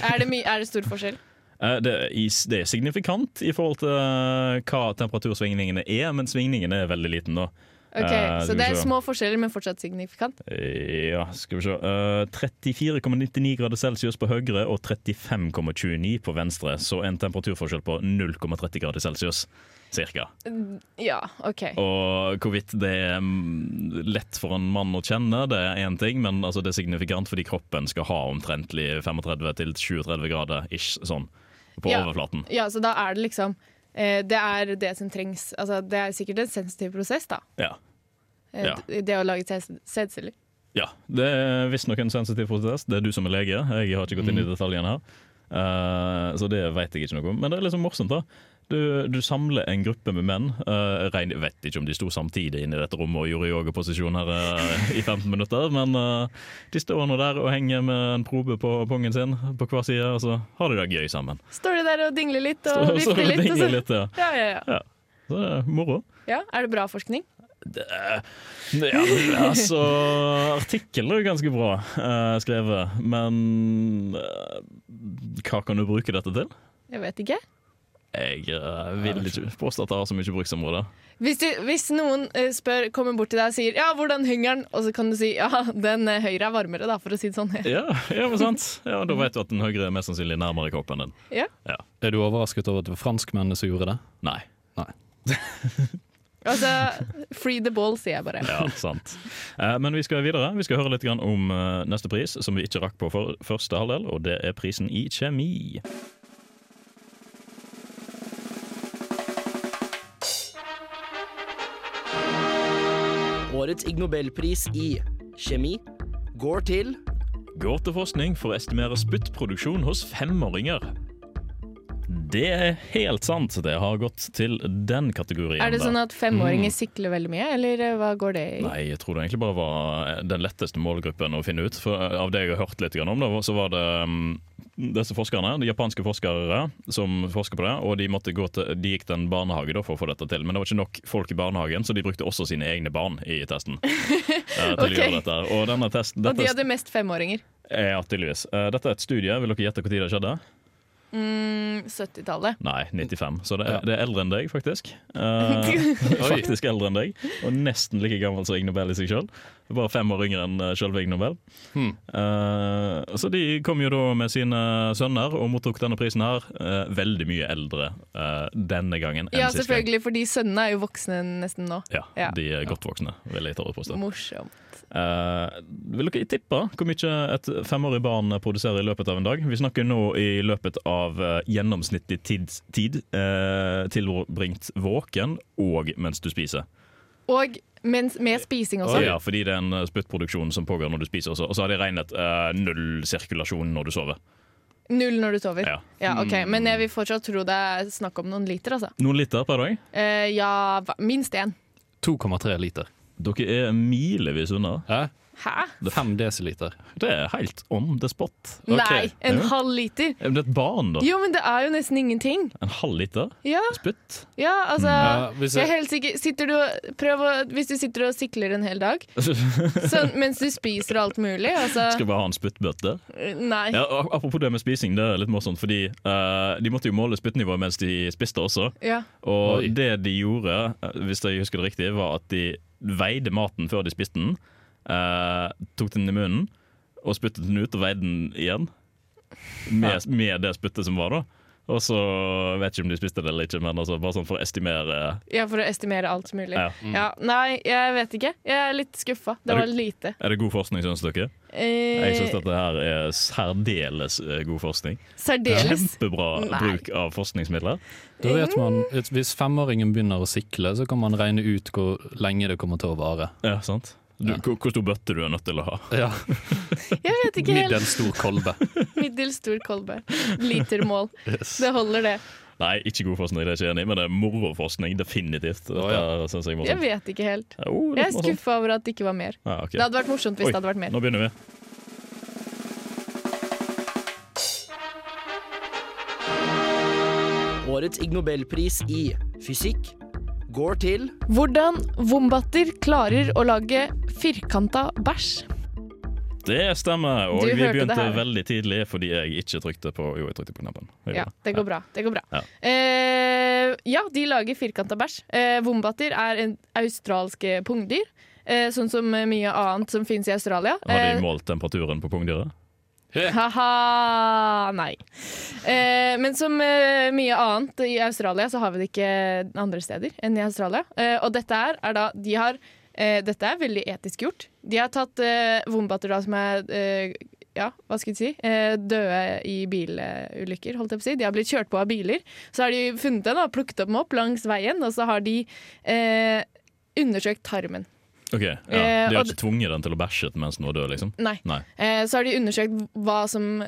Er det, my er det stor forskjell?
Eh, det, er is- det er signifikant i forhold til eh, hva temperatursvingningene er, men svingningen er veldig liten da.
Ok,
Eh,
Så
skal vi
det er
se.
små forskjeller, men fortsatt signifikant.
Eh, Ja, skal vi se. Eh, 34,99 grader celsius på høyre og 35,29 på venstre, så en temperaturforskjell på 0,30 grader celsius, cirka.
Ja, OK.
Og hvorvidt det er mm, lett for en mann å kjenne, det er én ting, men altså det er signifikant fordi kroppen skal ha omtrentlig 35-37 grader ish, sånn, på
Ja.
overflaten.
Ja, Så da er det liksom eh, Det er det som trengs. Altså, det er sikkert en sensitiv prosess, da.
Ja.
Eh,
Ja.
d- Det å lage sæd- sædceller.
ja. Det er visstnok en sensitiv prosess. Det er du som er lege, jeg har ikke gått inn i detaljene her. Eh, så det vet jeg ikke noe om. Men det er liksom morsomt, da. Du, du samler en gruppe med menn. eh, regn- jeg vet ikke om de sto samtidig inne i dette rommet og gjorde yogaposisjoner eh, i 15 minutter, men eh, de står nå der og henger med en probe på pungen sin på hver side, og så har de det gøy sammen.
Står de der og dingler litt
Så,
og
så
vifter litt? sånn. og
dingler
så-
litt, ja.
Ja, ja, ja.
Så det er moro.
ja, Er det bra forskning?
Det, ja, men altså Artikkelen er jo ganske bra eh, skrevet, men eh, hva kan du bruke dette til?
Jeg vet ikke.
Jeg eh, vil ikke påstå at det har så mye bruksområder.
Hvis, du, hvis noen eh, spør, kommer bort til deg og sier 'ja, hvordan henger den', og så kan du si 'ja, den eh, høyre er varmere', da, for å si det sånn. [LAUGHS]
Ja, ja, men sant? ja, Da vet du at den høyre er mest sannsynlig nærmere kroppen din.
Er du overrasket over at det var franskmennene som gjorde det?
Nei.
Altså, free the ball, sier jeg bare.
Ja, sant. Eh, Men vi skal videre. Vi skal høre litt grann om eh, neste pris, som vi ikke rakk på for første halvdel, og det er prisen i kjemi.
Årets Ig Nobelpris i kjemi går til
Går til forskning for å estimere spyttproduksjon hos femåringer. Det er helt sant. Det har gått til den kategorien.
Er det
der.
sånn at femåringer sikler veldig mye, eller eh, hva går det i?
Mm. Nei, jeg tror det egentlig bare var eh, den letteste målgruppen å finne ut. For eh, av det jeg har hørt litt grann om, da, så var det um, disse forskerne, de japanske forskere som forsker på det, og de, måtte gå til, de gikk til en barnehage da, for å få dette til. Men det var ikke nok folk i barnehagen, så de brukte også sine egne barn i
[LAUGHS]
testen. eh, til å
Ok.
gjøre dette. Og denne testen
Og
dette,
de hadde mest femåringer.
Ja, tydeligvis. Eh, Dette er et studie. Vil dere gjette når det skjedde?
Mm, 70-tallet.
Nei, 95. Så det
Ja.
er, det er eldre enn deg,
[LAUGHS]
faktisk. Eh, faktisk eldre enn deg, og nesten like gammel som Ig Nobel i seg sjøl. Bare fem år yngre enn eh, sjølve Ig Nobel.
Hmm.
Eh, så de kom jo da med sine sønner og mottok denne prisen her. eh, veldig mye eldre eh, denne gangen enn
Ja,
sist gang.
selvfølgelig, fordi sønnene er jo voksne nesten nå.
Ja,
Ja.
De er godt voksne, vil jeg tørre å påstå.
Morsomt.
Eh, vil dere tippe hvor mye et femårig barn produserer i løpet av en dag? Vi snakker nå i løpet av eh, gjennomsnittlig tid, tid eh, tilbringt våken og mens du spiser.
Og mens, med spising også.
Ja, fordi det er en eh, spyttproduksjon som pågår når du spiser, også. og så har de regnet eh, null sirkulasjon når du sover.
Null når du sover.
Ja. Mm.
Ja, ok, Men jeg vil fortsatt tro det er snakk om noen liter, altså.
Noen liter per dag?
Eh, ja, hva- minst én.
2,3 liter.
Dere er milevis unna.
Hæ?
Hæ?
5 desiliter.
Det er helt on the spot.
Nei, en
Ja.
halv liter!
Ja, Men det er et barn, da.
Jo, men det er jo nesten ingenting.
En halv liter
Ja, [LAUGHS]
spytt?
ja altså
Mm.
Ja, hvis
jeg er
jeg,
helt sikker sitter du, og- prøv å, Hvis du sitter og sikler en hel dag
[LAUGHS]
sånn, mens du spiser og alt mulig
Skal
altså,
bare ha en spyttbøtte?
Nei.
Ja, og apropos det med spising, det er litt morsomt, fordi eh, de måtte jo måle spyttnivået mens de spiste også.
Ja.
Og
Oi.
det de gjorde, eh, hvis jeg husker det riktig, var at de veide maten før de spiste den, eh, tok den i munnen og spyttet den ut og veide den igjen. Med, med det spyttet som var, da. Og så vet ikke om de spiste det eller ikke, men altså bare sånn for å estimere.
ja, for å estimere alt mulig.
Ja.
Ja, nei, jeg vet ikke. Jeg er litt skuffa. Det
Er
var
du-
lite.
Er det god forskning, syns dere? Jeg syns
Eh,
dette her er særdeles eh, god forskning.
særdeles.
Kjempebra
Nei.
bruk av forskningsmidler.
da vet man, at Hvis femåringen begynner å sikle, så kan man regne ut hvor lenge det kommer til å vare.
Ja, sant? Du,
Ja.
hvor- Hvor stor bøtte du er nødt til å ha.
Ja,
Jeg vet ikke helt.
Middels stor kolbe.
Middels stor kolbe. Litermål. Det holder, det.
Nei, ikke god forskning, det er jeg ikke enig i, men det er moroforskning, definitivt. Dette
Å, ja.
er- synes jeg er
Jeg
morsomt.
vet ikke helt.
Ja, oh, litt
Jeg er
morsomt.
skuffa over at det ikke var mer.
Ja, ok.
Det hadde vært morsomt hvis
Oi.
det hadde vært mer.
Nå begynner vi.
Årets Ig Nobelpris i fysikk går til
Hvordan vombatter klarer å lage firkanta bæsj.
Det stemmer, og
Du
vi
hørte det
begynte
her.
veldig tidlig fordi jeg ikke trykte på Jo, jeg trykte på knappen. Jeg
Ja,
gjorde
det går bra. Det går bra.
Ja.
Eh, ja, de lager firkanta bæsj. Eh, vombatter er en australske pungdyr. Eh, sånn som mye annet som finnes i Australia.
Har de
Eh,
målt temperaturen på pungdyret?
Haha, nei. Eh, men som eh, mye annet i Australia, så har vi det ikke andre steder enn i Australia. Eh, og dette her er da De har eh, Dette er veldig etisk gjort. De har tatt eh, vombatter da som er eh, ja, hva skal jeg si? Eh, døde i bilulykker, holdt jeg på å si. De har blitt kjørt på av biler. Så har de funnet dem og plukket dem opp langs veien, og så har de eh, undersøkt tarmen.
Ok, ja.
Eh,
De har
og
ikke tvunget den til å bæsje mens den var død, liksom?
Nei.
Nei.
Eh, så har de undersøkt hva som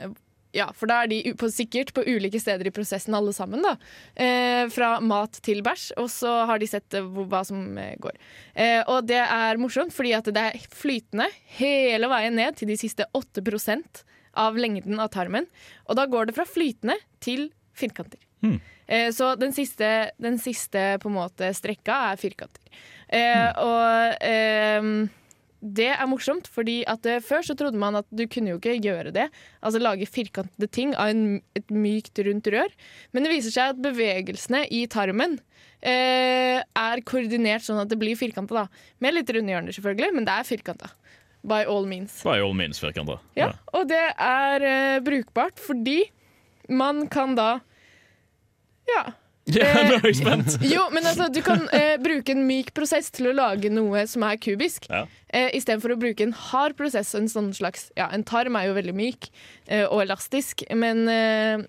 Ja, for da er de u- på, sikkert på ulike steder i prosessen alle sammen, da. Eh, fra mat til bæsj, og så har de sett eh, hvor, hva som eh, går. Eh, og det er morsomt, fordi at det er flytende hele veien ned til de siste 8 av lengden av tarmen. Og da går det fra flytende til firkanter.
Hmm.
Eh, så den siste, den
Hmm.
siste på en måte strekka er firkanter. Eh, og eh, det er morsomt, fordi at eh, før så trodde man at du kunne jo ikke gjøre det. Altså lage firkantede ting av en, et mykt, rundt rør. Men det viser seg at bevegelsene i tarmen eh, er koordinert sånn at det blir firkanta, da. Med litt runde hjørner, selvfølgelig, men det er firkanta. By all means.
By all means, firkanter.
Ja, og det er eh, brukbart fordi man kan da Ja.
[LAUGHS] Ja, nå er jeg
Eh,
spent!
[LAUGHS] Jo, men altså, du kan eh, bruke en myk prosess til å lage noe som er kubisk,
Ja.
eh, istedenfor å bruke en hard prosess. En sånn slags, ja, en tarm er jo veldig myk eh, og elastisk, men eh,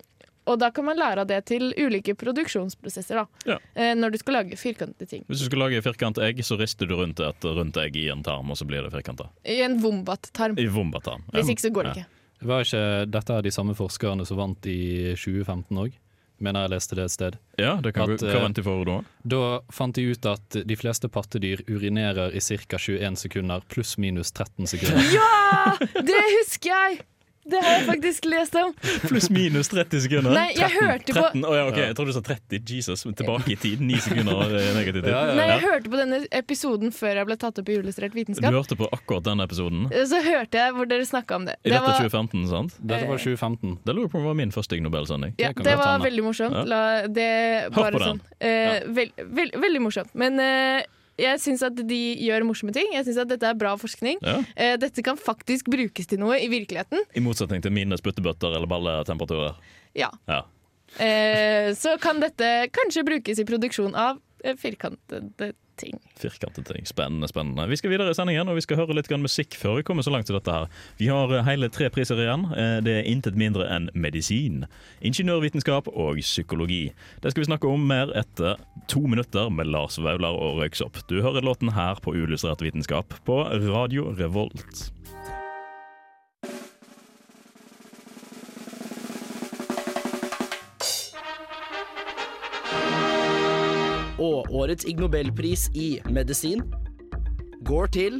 Og da kan man lære av det til ulike produksjonsprosesser, da.
Ja.
Eh, når du skal lage firkantede ting.
Hvis du skal lage firkantet egg, så rister du rundt et rundt egg i en tarm, og så blir det firkanta.
I en vombat-tarm.
I vombatarm. Ja.
Hvis ikke, så går det ikke.
Var ikke dette er de samme forskerne som vant i 2015 òg? Mener jeg leste det et sted.
Ja, det kan
At,
gå-
eh,
Hva venter for da?
Da fant de ut at de fleste pattedyr urinerer i ca. 21 sekunder, pluss minus 13
[LAUGHS]
sekunder.
Det husker jeg! Det har jeg faktisk lest om.
[LAUGHS] Pluss minus 30 sekunder.
Nei, jeg hørte på
13, Å ja, ok, Jeg trodde du sa 30. Jesus, men tilbake i tid. 9 sekunder eh, negativ
[LAUGHS]
tid.
Nei, jeg hørte på denne episoden før jeg ble tatt opp i Uillustrert
Du
vitenskap.
hørte på akkurat den episoden?
Eh, Så hørte jeg hvor dere snakka om det.
I
Det
dette
var,
2015, sant?
Dette var 2015.
Det lurer jeg på om det var min første Ig Nobel-sending.
ja,
Det kan
det
godt
var
hende.
veldig morsomt.
Ja.
La, det
Hør
bare
på den.
sånn. Eh, vel- vel- veldig morsomt. Men eh, jeg syns at de gjør morsomme ting. Jeg syns at dette er bra forskning.
Ja.
Eh, dette kan faktisk brukes til noe i virkeligheten.
I motsetning til mine spyttebøtter eller balletemperaturer.
Ja.
Ja.
Eh, så kan dette kanskje brukes i produksjon av eh, firkantede ting.
Firkantete ting. Spennende, spennende. Vi skal videre i sendingen, og vi skal høre litt grann musikk før vi kommer så langt til dette her. Vi har eh, hele tre priser igjen. Eh, Det er intet mindre enn medisin, ingeniørvitenskap og psykologi. Det skal vi snakke om mer etter to minutter med Lars Vaular og Røyksopp. Du hører låten her på Uillustrert vitenskap på Radio Revolt.
Og årets Ig Nobelpris i medisin går til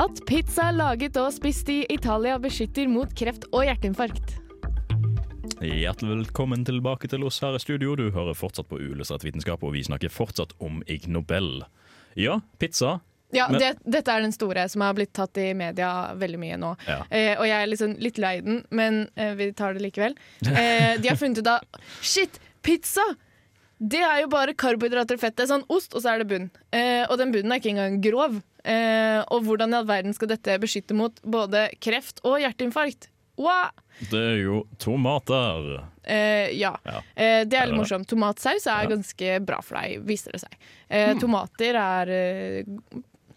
At pizza laget og spist i Italia beskytter mot kreft og hjerteinfarkt.
Hjertelig velkommen tilbake til oss her i studio. Du hører fortsatt på Uillustrert vitenskap, og vi snakker fortsatt om Ig Nobel. Ja, pizza.
Ja,
Men-
det, Dette er den store som har blitt tatt i media veldig mye nå.
Ja.
Eh, og jeg er liksom litt lei den, men eh, vi tar det likevel. Eh, de har funnet ut av Shit, pizza! Det er jo bare karbohydrater og fett. Det er sånn ost, og så er det bunn. Eh, og den bunnen er ikke engang grov. Eh, og hvordan i all verden skal dette beskytte mot både kreft og hjerteinfarkt? Wow!
Det er jo tomater.
Eh, ja.
Ja.
Eh, det er
Eller-
litt morsomt. Tomatsaus er ganske bra for deg, viser det seg. Eh, Tomater er eh,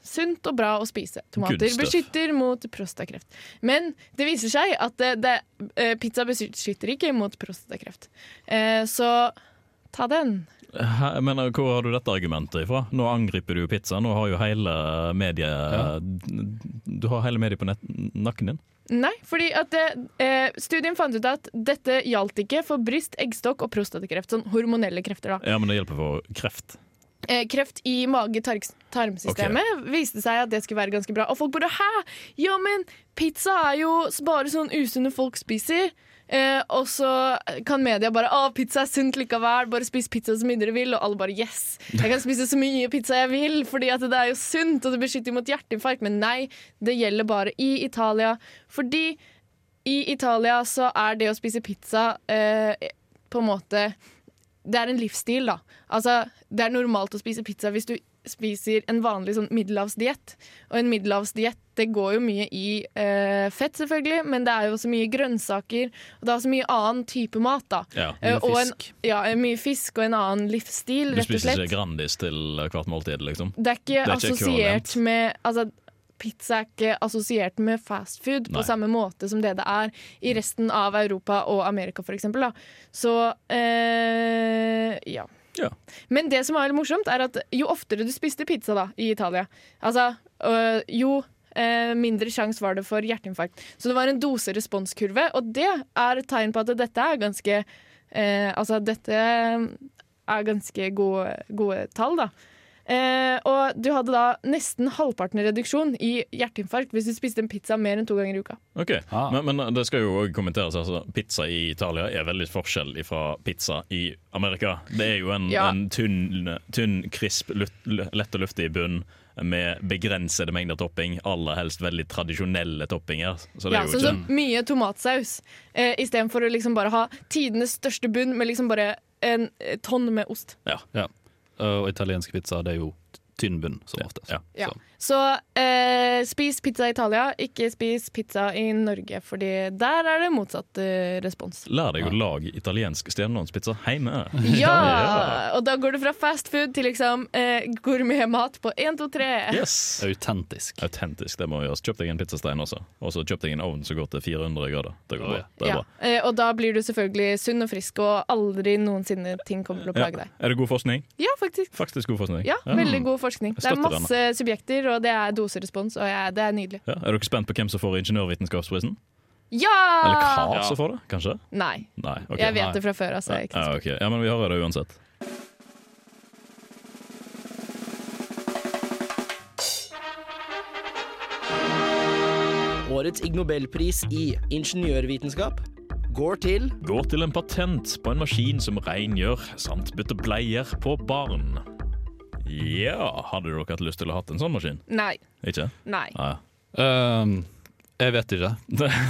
sunt og bra å spise. Tomater
Good stuff.
beskytter mot prostakreft. Men det viser seg at det, det, eh, pizza beskytter ikke mot prostakreft. Eh, så ta den.
Hæ, men eh, Hvor har du dette argumentet ifra? Nå angriper du jo pizza. Nå har jo hele mediet Du har hele mediet på nett, nakken din.
Nei, fordi at det, eh, studien fant ut at dette gjaldt ikke for bryst, eggstokk og prostatakreft. Sånn hormonelle krefter, da.
Ja, men det hjelper for kreft.
eh, kreft i mage-tarmsystemet viste seg at det skulle være ganske bra. Og folk bare 'hæ? Ja, men pizza er jo bare sånn usunne folk spiser'. Eh, og så kan media bare 'Å, pizza er sunt likevel, bare spis pizza så mye dere vil'. Og alle bare 'yes, jeg kan spise så mye pizza jeg vil', fordi at det er jo sunt, og det beskytter mot hjerteinfarkt. Men nei, det gjelder bare i Italia. Fordi i Italia så er det å spise pizza eh, på en måte det er en livsstil, da. Altså, det er normalt å spise pizza hvis du spiser en vanlig sånn middelhavsdiett. Og en middelhavsdiett det går jo mye i eh, fett, selvfølgelig, men det er jo også mye grønnsaker. Og det er også mye annen type mat, da.
Ja.
Eh, og en, ja, mye fisk og en annen livsstil,
Du
rett og
spiser
slett.
ikke Grandis til hvert måltid, liksom.
Det er ikke,
er ikke
assosiert
ekvivalent.
med altså, Pizza er ikke assosiert med fast food
Nei. Mm.
på samme måte som det det er i resten av Europa og Amerika, for eksempel. Da. Så eh, ja.
Ja.
Men det som er veldig morsomt, er at jo oftere du spiste pizza da, i Italia, altså, øh, jo eh, mindre sjanse var det for hjerteinfarkt. Så det var en doseresponskurve, og det er et tegn på at dette er ganske eh, Altså, dette er ganske gode, gode tall, da. Eh, og du hadde da nesten halvparten reduksjon i hjerteinfarkt hvis du spiste en pizza mer enn to ganger i uka.
Ok,
Ah.
men, men det skal jo også kommenteres altså, Pizza i Italia er veldig forskjell fra pizza i Amerika. Det er jo en,
Ja.
en tynn, tynn, krisp, lut- lett og luftig bunn med begrensede mengder topping. Aller helst veldig tradisjonelle toppinger. Så det
Ja,
er jo
sånn
ikke
som mye tomatsaus, eh, istedenfor å liksom bare ha tidenes største bunn med liksom bare en eh, tonn med ost.
Ja. Og italienske pizza, det er jo tynn bunn, som oftest.
Ja.
Ja.
Så.
Så eh, spis pizza i Italia, ikke spis pizza i Norge, Fordi der er det motsatt eh,
[LAUGHS]
respons.
Lær deg å lage italiensk stjernenålspizza hjemme.
Ja! Og da går det fra fast food til liksom eh, gourmetmat på 1, 2, 3. [LAUGHS]
Yes!
Autentisk.
Autentisk, det må gjøres. Kjøp deg en pizzastein også. Og så kjøp deg en ovn som går til 400 grader. Det går
Å, ja.
bra. Det er,
Ja.
bra.
Eh, og da blir du selvfølgelig sunn og frisk, og aldri noensinne ting kommer til å plage
Ja.
deg.
er det god forskning?
Ja, faktisk.
Faktisk god forskning.
Ja, veldig god forskning.
Jeg
Det er
støtter
masse subjekter, og det er doserespons, og jeg, det er nydelig.
Ja. Er dere spent på hvem som får ingeniørvitenskapsprisen?
Ja!
Eller hva som får det, kanskje?
Nei,
Nei. ok.
Ah. jeg
nei.
vet det fra før, altså. Jeg er ikke
ja, ok. ja, men vi har det uansett.
Årets Ig Nobelpris i ingeniørvitenskap går til
Går til en patent på en maskin som rengjør, samt bytter bleier på barn. Ja, hadde dere hatt lyst til å ha hatt en sånn maskin?
Nei,
Ikke?
nei.
Nei.
Ehm, jeg vet
[LAUGHS]
ikke.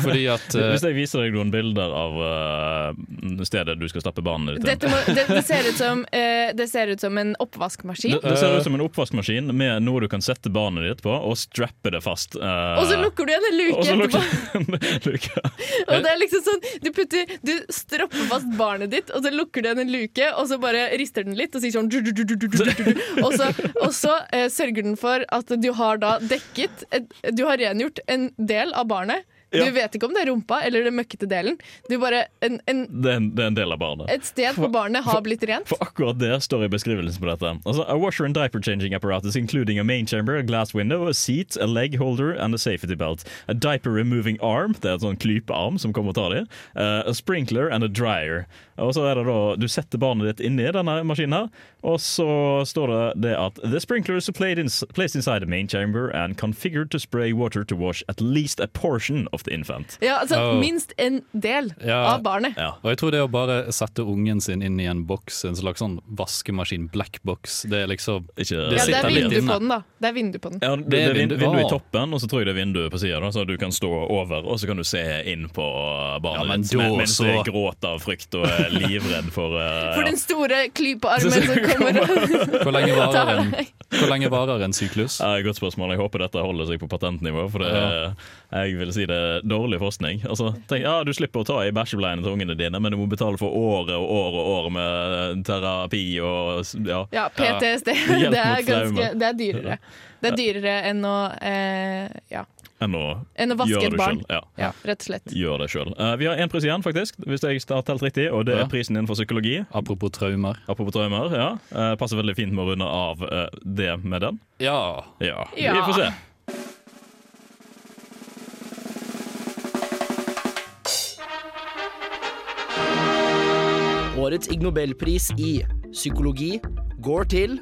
Fordi at eh,
Hvis jeg viser deg noen bilder av eh, stedet du skal stappe barnet ditt
Dette må, det, det, ser ut som, eh, det ser ut som en
Det,
oppvaskmaskin.
det ser ut som en oppvaskmaskin med noe du kan sette barnet ditt på og strappe det fast. eh,
Og så lukker du igjen en luke
og så
etterpå.
lukker- [LAUGHS] lukker.
Eh.
Og det er liksom sånn, du, putter, du stropper fast barnet ditt, og så lukker du igjen en luke, og så bare rister den litt og sier sånn du, du, du, du, du, du, du, du. Og så, og så eh, sørger den for at du har da dekket et- Du har rengjort en del av barnet.
Ja.
Du vet ikke om det er rumpa eller den møkkete delen. Du bare, en, en,
Det, er en, det er en del av barnet.
et sted på barnet har blitt rent.
For akkurat det står i beskrivelsen på dette. Altså, a washer and diaper changing apparatus including a main chamber, a glass window, a seat, a leg holder and a safety belt. A diaper removing arm, det er en sånn klypearm som kommer og tar dem. eh, a sprinkler and a dryer. Og så er det da, du setter barnet ditt inni denne maskinen her, og så står det det at the sprinklers are played in, placed inside a main chamber and configured to spray water to wash at least a portion of the infant.
Ja, altså
Oh.
minst en del
Ja.
av barnet.
Ja.
eh, Og jeg tror det å bare sette ungen sin inn i en boks, en slags sånn vaskemaskin, blackbox, det er liksom
Ikke,
Det
Ja, det er
sitter litt
vindu
inne.
på den, da. Det er vindu på den.
Ja, det, er vindu,
vindu-
vinduet i
Å.
toppen, og så tror jeg det er vinduet på sida. Så du kan stå over, og så kan du se inn på
Ja,
barnet
men
ditt
da
men- mens det
så-
gråter av frykt og er livredd for eh,
[LAUGHS] For
ja.
den store klypearmen som
[LAUGHS]
kommer og
Hvor
[LAUGHS]
lenge varer
tar
en,
deg.
hvor lenge varer en syklus?
Ja, Godt spørsmål. Jeg håper dette holder seg på patentnivå, for det, jeg vil si det er dårlig forskning. Altså, tenk, ja, Du slipper å ta i bæsjebleiene til ungene dine, men du må betale for året og år og år med eh, terapi og s- ja.
Ja, PTSD.
Hjelp
[LAUGHS] Det er,
mot traume.
ganske, det er dyrere. Det er dyrere enn å, eh, ja,
enn å
enn å vaske
gjøre
et
det
barn.
sjøl. Ja.
Ja, rett og slett.
Gjør det selv. Eh, vi har én pris igjen, faktisk, hvis jeg har telt riktig, og det
Ja.
er prisen innenfor psykologi.
Apropos traumer.
Apropos traumer, ja. Eh, passer veldig fint med å runde av eh, det med den.
Ja.
Ja,
Ja.
vi får se.
Årets Ig Nobelpris i psykologi går til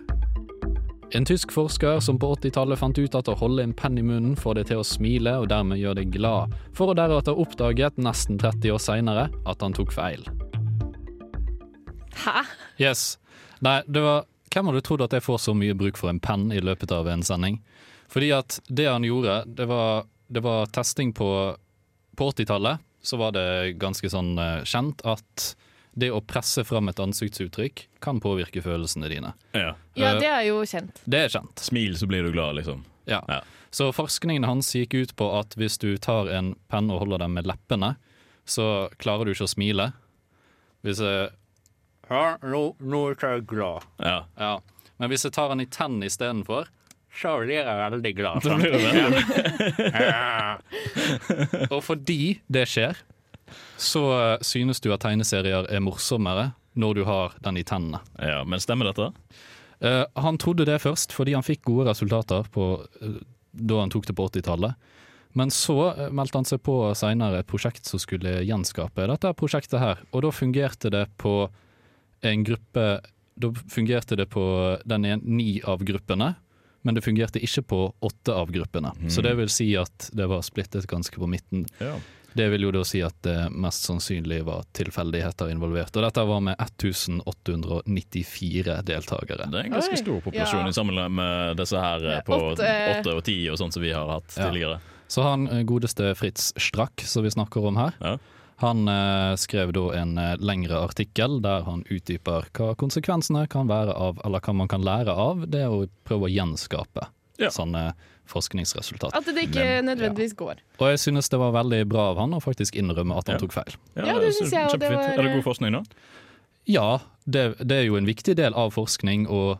En tysk forsker som på 80-tallet fant ut at å holde en penn i munnen får deg til å smile og dermed gjør deg glad, for å deretter oppdaget nesten 30 år seinere at han tok feil.
Hæ?
Yes. Nei, det var Hvem hadde trodd at jeg får så mye bruk for en penn i løpet av en sending? Fordi at det han gjorde, det var, det var testing på På 80-tallet så var det ganske sånn eh, kjent at det å presse fram et ansiktsuttrykk kan påvirke følelsene dine.
Ja.
Ja, det er jo kjent.
Det er kjent.
Smil, så blir du glad, liksom.
Ja.
Ja.
Så forskningen hans gikk ut på at hvis du tar en penn og holder den med leppene, så klarer du ikke å smile. Hvis jeg Ja, nå, nå er jeg glad.
Ja.
Ja. Men hvis jeg tar den i tennene istedenfor, så blir jeg veldig glad.
Da blir det veldig-
[LAUGHS] Og fordi det skjer, så eh, synes du at tegneserier er morsommere når du har den i tennene.
ja, men stemmer dette?
Eh, han trodde det først, fordi han fikk gode resultater på, eh, da han tok det på 80-tallet. Men så eh, meldte han seg på senere et prosjekt som skulle gjenskape dette prosjektet her. Og da fungerte det på en gruppe Da fungerte det på den en, ni av gruppene. men det fungerte ikke på åtte av gruppene. Så det vil si at det var splittet ganske på midten.
Ja.
Det vil jo da si at det mest sannsynlig var tilfeldigheter involvert. Og dette var med 1894 deltakere.
Det er en ganske
Oi.
stor populasjon
Ja.
i sammenligning med disse her eh,
Ja,
på
åtte-
åtte og ti og sånn som vi har hatt
Ja.
tidligere.
Så han eh, godeste Fritz Strack, som vi snakker om her,
Ja.
han eh, skrev da en eh, lengre artikkel der han utdyper hva konsekvensene kan være av, eller hva man kan lære av, det å prøve å gjenskape
Ja.
sånne forskningsresultat.
At det ikke nødvendigvis går.
Og jeg synes det var veldig bra av han å faktisk innrømme at han
Ja.
tok feil.
Ja, det synes jeg, og det
kjempefint.
var- eh,
Er det god forskning, da?
Ja, det, det er jo en viktig del av forskning å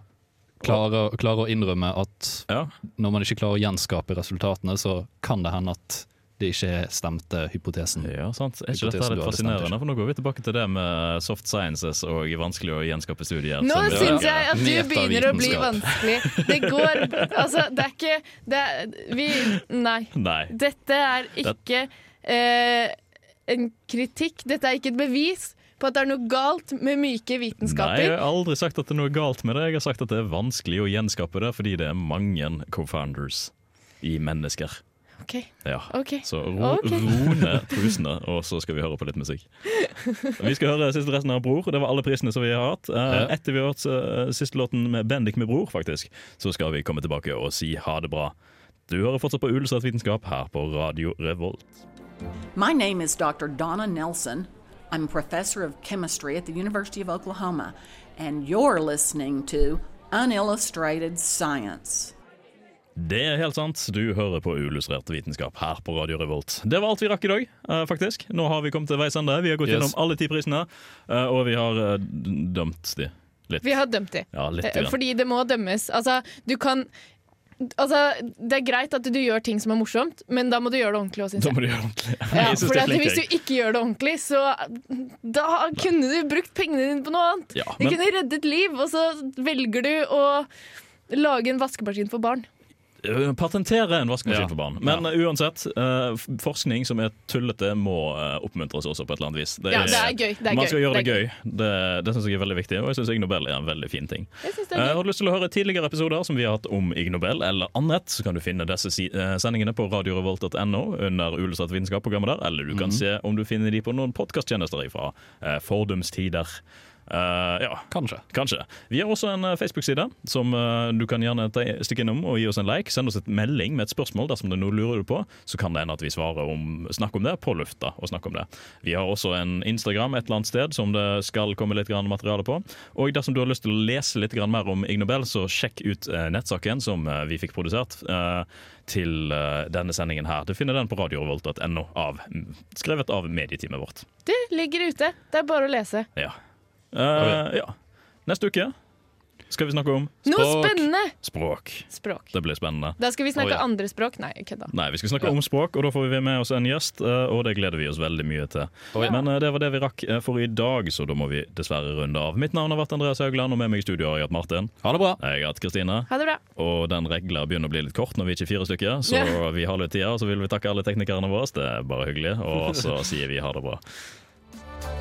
klare, klare å innrømme at
Ja.
når man ikke klarer å gjenskape resultatene, så kan det hende at det ikke stemte hypotesen.
ja, sant. Er ikke
Hypotesen
dette her
du
litt
hadde stemt,
fascinerende? For nå går vi tilbake til det med soft sciences og vanskelig å gjenskape studier.
Nå
som vi-
syns jeg at du
Metavitenskap.
begynner å bli vanskelig. Det går [LAUGHS] Altså, det er ikke det er, Vi Nei.
Nei.
Dette er ikke eh, en kritikk. Dette er ikke et bevis på at det er noe galt med myke
Nei, jeg har
vitenskaper.
aldri sagt at det er noe galt med det. Jeg har sagt at det er vanskelig å gjenskape det fordi det er mange co-founders i mennesker.
OK.
Ja.
ok
Så ro, [LAUGHS]
Ok.
ro ned trusene, og så skal vi høre på litt musikk. Vi skal høre siste resten av Bror. Det var alle prisene som vi har hatt. Eh, Etter vi har hørt eh, siste låten med Bendik med Bror, faktisk, så skal vi komme tilbake og si ha det bra. Du hører fortsatt på Ulsrett vitenskap her på Radio Revolt.
My name is Dr. Donna Nelson. I'm a professor of chemistry at the University of Oklahoma, and you're listening to Unillustrated Science.
Det er helt sant. Du hører på Uillustrert vitenskap her på Radio Revolt. Det var alt vi rakk i dag, eh, faktisk. Nå har vi kommet til veis ende. Vi har gått
Yes.
gjennom alle ti prisene, eh, og vi har eh, dømt de litt.
Vi har dømt dem.
Ja, litt.
Eh,
Grann.
Fordi det må dømmes. Altså, du kan Altså, det er greit at du gjør ting som er morsomt, men da må du gjøre det ordentlig òg,
[LAUGHS]
syns
Da
jeg.
må du gjøre ordentlig.
[LAUGHS] Ja,
Jeg synes
for
det er
at
flink,
hvis
jeg.
du ikke gjør det ordentlig, så da kunne du brukt pengene dine på noe annet.
Ja,
Du
men-
kunne reddet liv, og så velger du å lage en vaskemaskin for barn.
Eh, Patentere en vaskemaskin
Ja.
for barn. Men eh, uansett, eh, f- forskning som er tullete, må eh, oppmuntres også på et eller annet vis.
Ja, det er gøy. Det er
Man skal
gøy.
gjøre det
er
gøy. Det, det syns jeg er veldig viktig, og jeg syns Ig Nobel er en veldig fin ting.
Jeg synes det
Eh,
er gøy.
Har du lyst til å høre tidligere episoder som vi har hatt om Ig Nobel eller annet, så kan du finne disse si eh, sendingene på radiorevolt.no under Ulestat vitenskap-programmet der, eller du kan se om du finner de på noen podkasttjenester ifra eh, fordums tider. Eh, ja,
Kanskje.
Kanskje. Vi har også en eh, Facebook-side som eh, du kan gjerne ta, stikke innom og gi oss en like. Send oss et melding med et spørsmål dersom det er noe du lurer på, så kan det hende at vi svarer om, snakker om det på lufta. og snakker om det. Vi har også en Instagram et eller annet sted som det skal komme litt grann materiale på. Og dersom du har lyst til å lese litt grann mer om Ig Nobel, så sjekk ut eh, nettsaken som eh, vi fikk produsert eh, til eh, denne sendingen her. Du finner den på radiorevolt.no, av- skrevet av medieteamet vårt.
Det ligger ute. Det er bare å lese.
Ja. Eh, ja. Neste uke skal vi snakke om
Noe
språk.
spennende!
Språk.
Språk.
Det blir spennende.
Da skal vi
Å,
snakke
ja.
andre språk. Nei, kødda.
Nei, vi skal snakke om språk, og da får vi med oss en gjest. eh, Og det gleder vi oss veldig mye til. Men eh, det var det vi rakk eh, for i dag, så da må vi dessverre runde av. Mitt navn har vært Andreas Haugland, og med meg i studio har jeg hatt Martin.
Ha det bra!
Jeg har hatt Kristine.
Ha det bra.
Og den regla begynner å bli litt kort når vi ikke er fire stykker, så
Ja.
vi har litt tid her. Så vil vi takke alle teknikerne våre. Det er bare hyggelig. Og så sier vi ha det bra.